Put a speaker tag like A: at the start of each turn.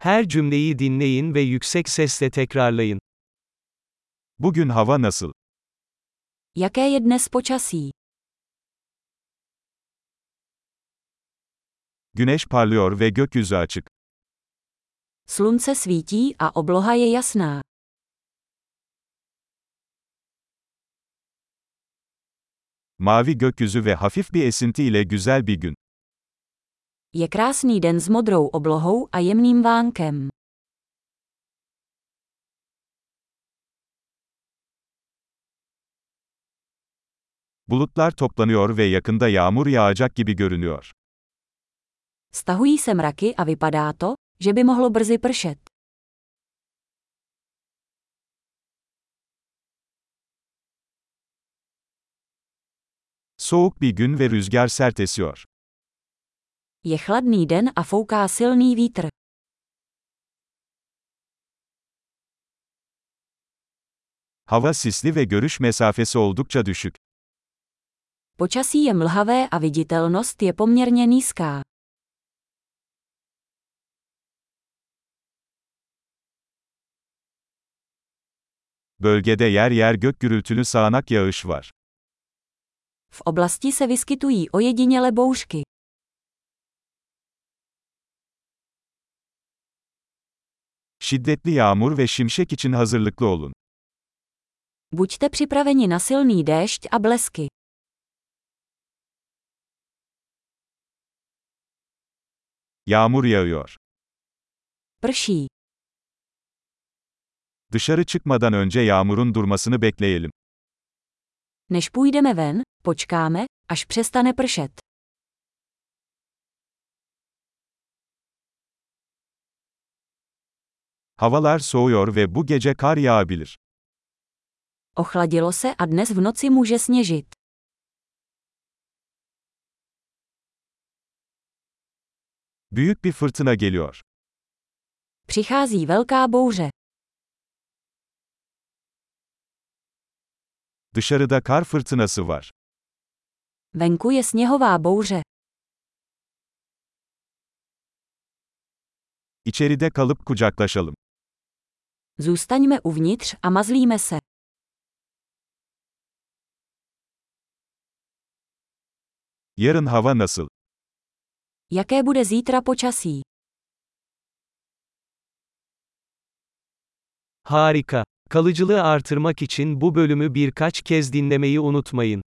A: Her cümleyi dinleyin ve yüksek sesle tekrarlayın.
B: Bugün hava nasıl?
C: Jaké je dnes počasí?
B: Güneş parlıyor ve gökyüzü açık.
C: Slunce svítí a obloha je jasná.
B: Mavi gökyüzü ve hafif bir esinti ile güzel bir gün.
C: Je krásný den s modrou oblohou a jemným vánkem.
B: Bulutlar toplanıyor ve yakında yağmur yağacak gibi görünüyor.
C: Stahují se mraky a vypadá to, že by mohlo brzy pršet.
B: Soğuk bir gün ve rüzgar sert esiyor.
C: Je chladný den a fouká silný vítr.
B: Hava sisli ve görüş mesafesi oldukça düşük.
C: Počasí je mlhavé a viditelnost je poměrně nízká.
B: Bölgede yer yer gök gürültülü sağanak yağış var.
C: V oblasti se vyskytují ojediněle bouřky.
B: Şiddetli yağmur ve şimşek için hazırlıklı olun.
C: Buďte připraveni na silný déšť a blesky.
B: Yağmur yağıyor.
C: Prší.
B: Dışarı çıkmadan önce yağmurun durmasını bekleyelim.
C: Než půjdeme ven, počkáme, až přestane pršet.
B: Havalar soğuyor ve bu gece kar yağabilir.
C: Ochladilo se a dnes v noci může sněžit.
B: Büyük bir fırtına geliyor.
C: Přichází velká bouře.
B: Dışarıda kar fırtınası var.
C: Venku je sněhová bouře.
B: İçeride kalıp kucaklaşalım.
C: Zůstaňme uvnitř a mazlíme se.
B: Yarın hava nasıl?
C: Jaké bude zítra počasí?
A: Harika. Kalıcılığı artırmak için bu bölümü birkaç kez dinlemeyi unutmayın.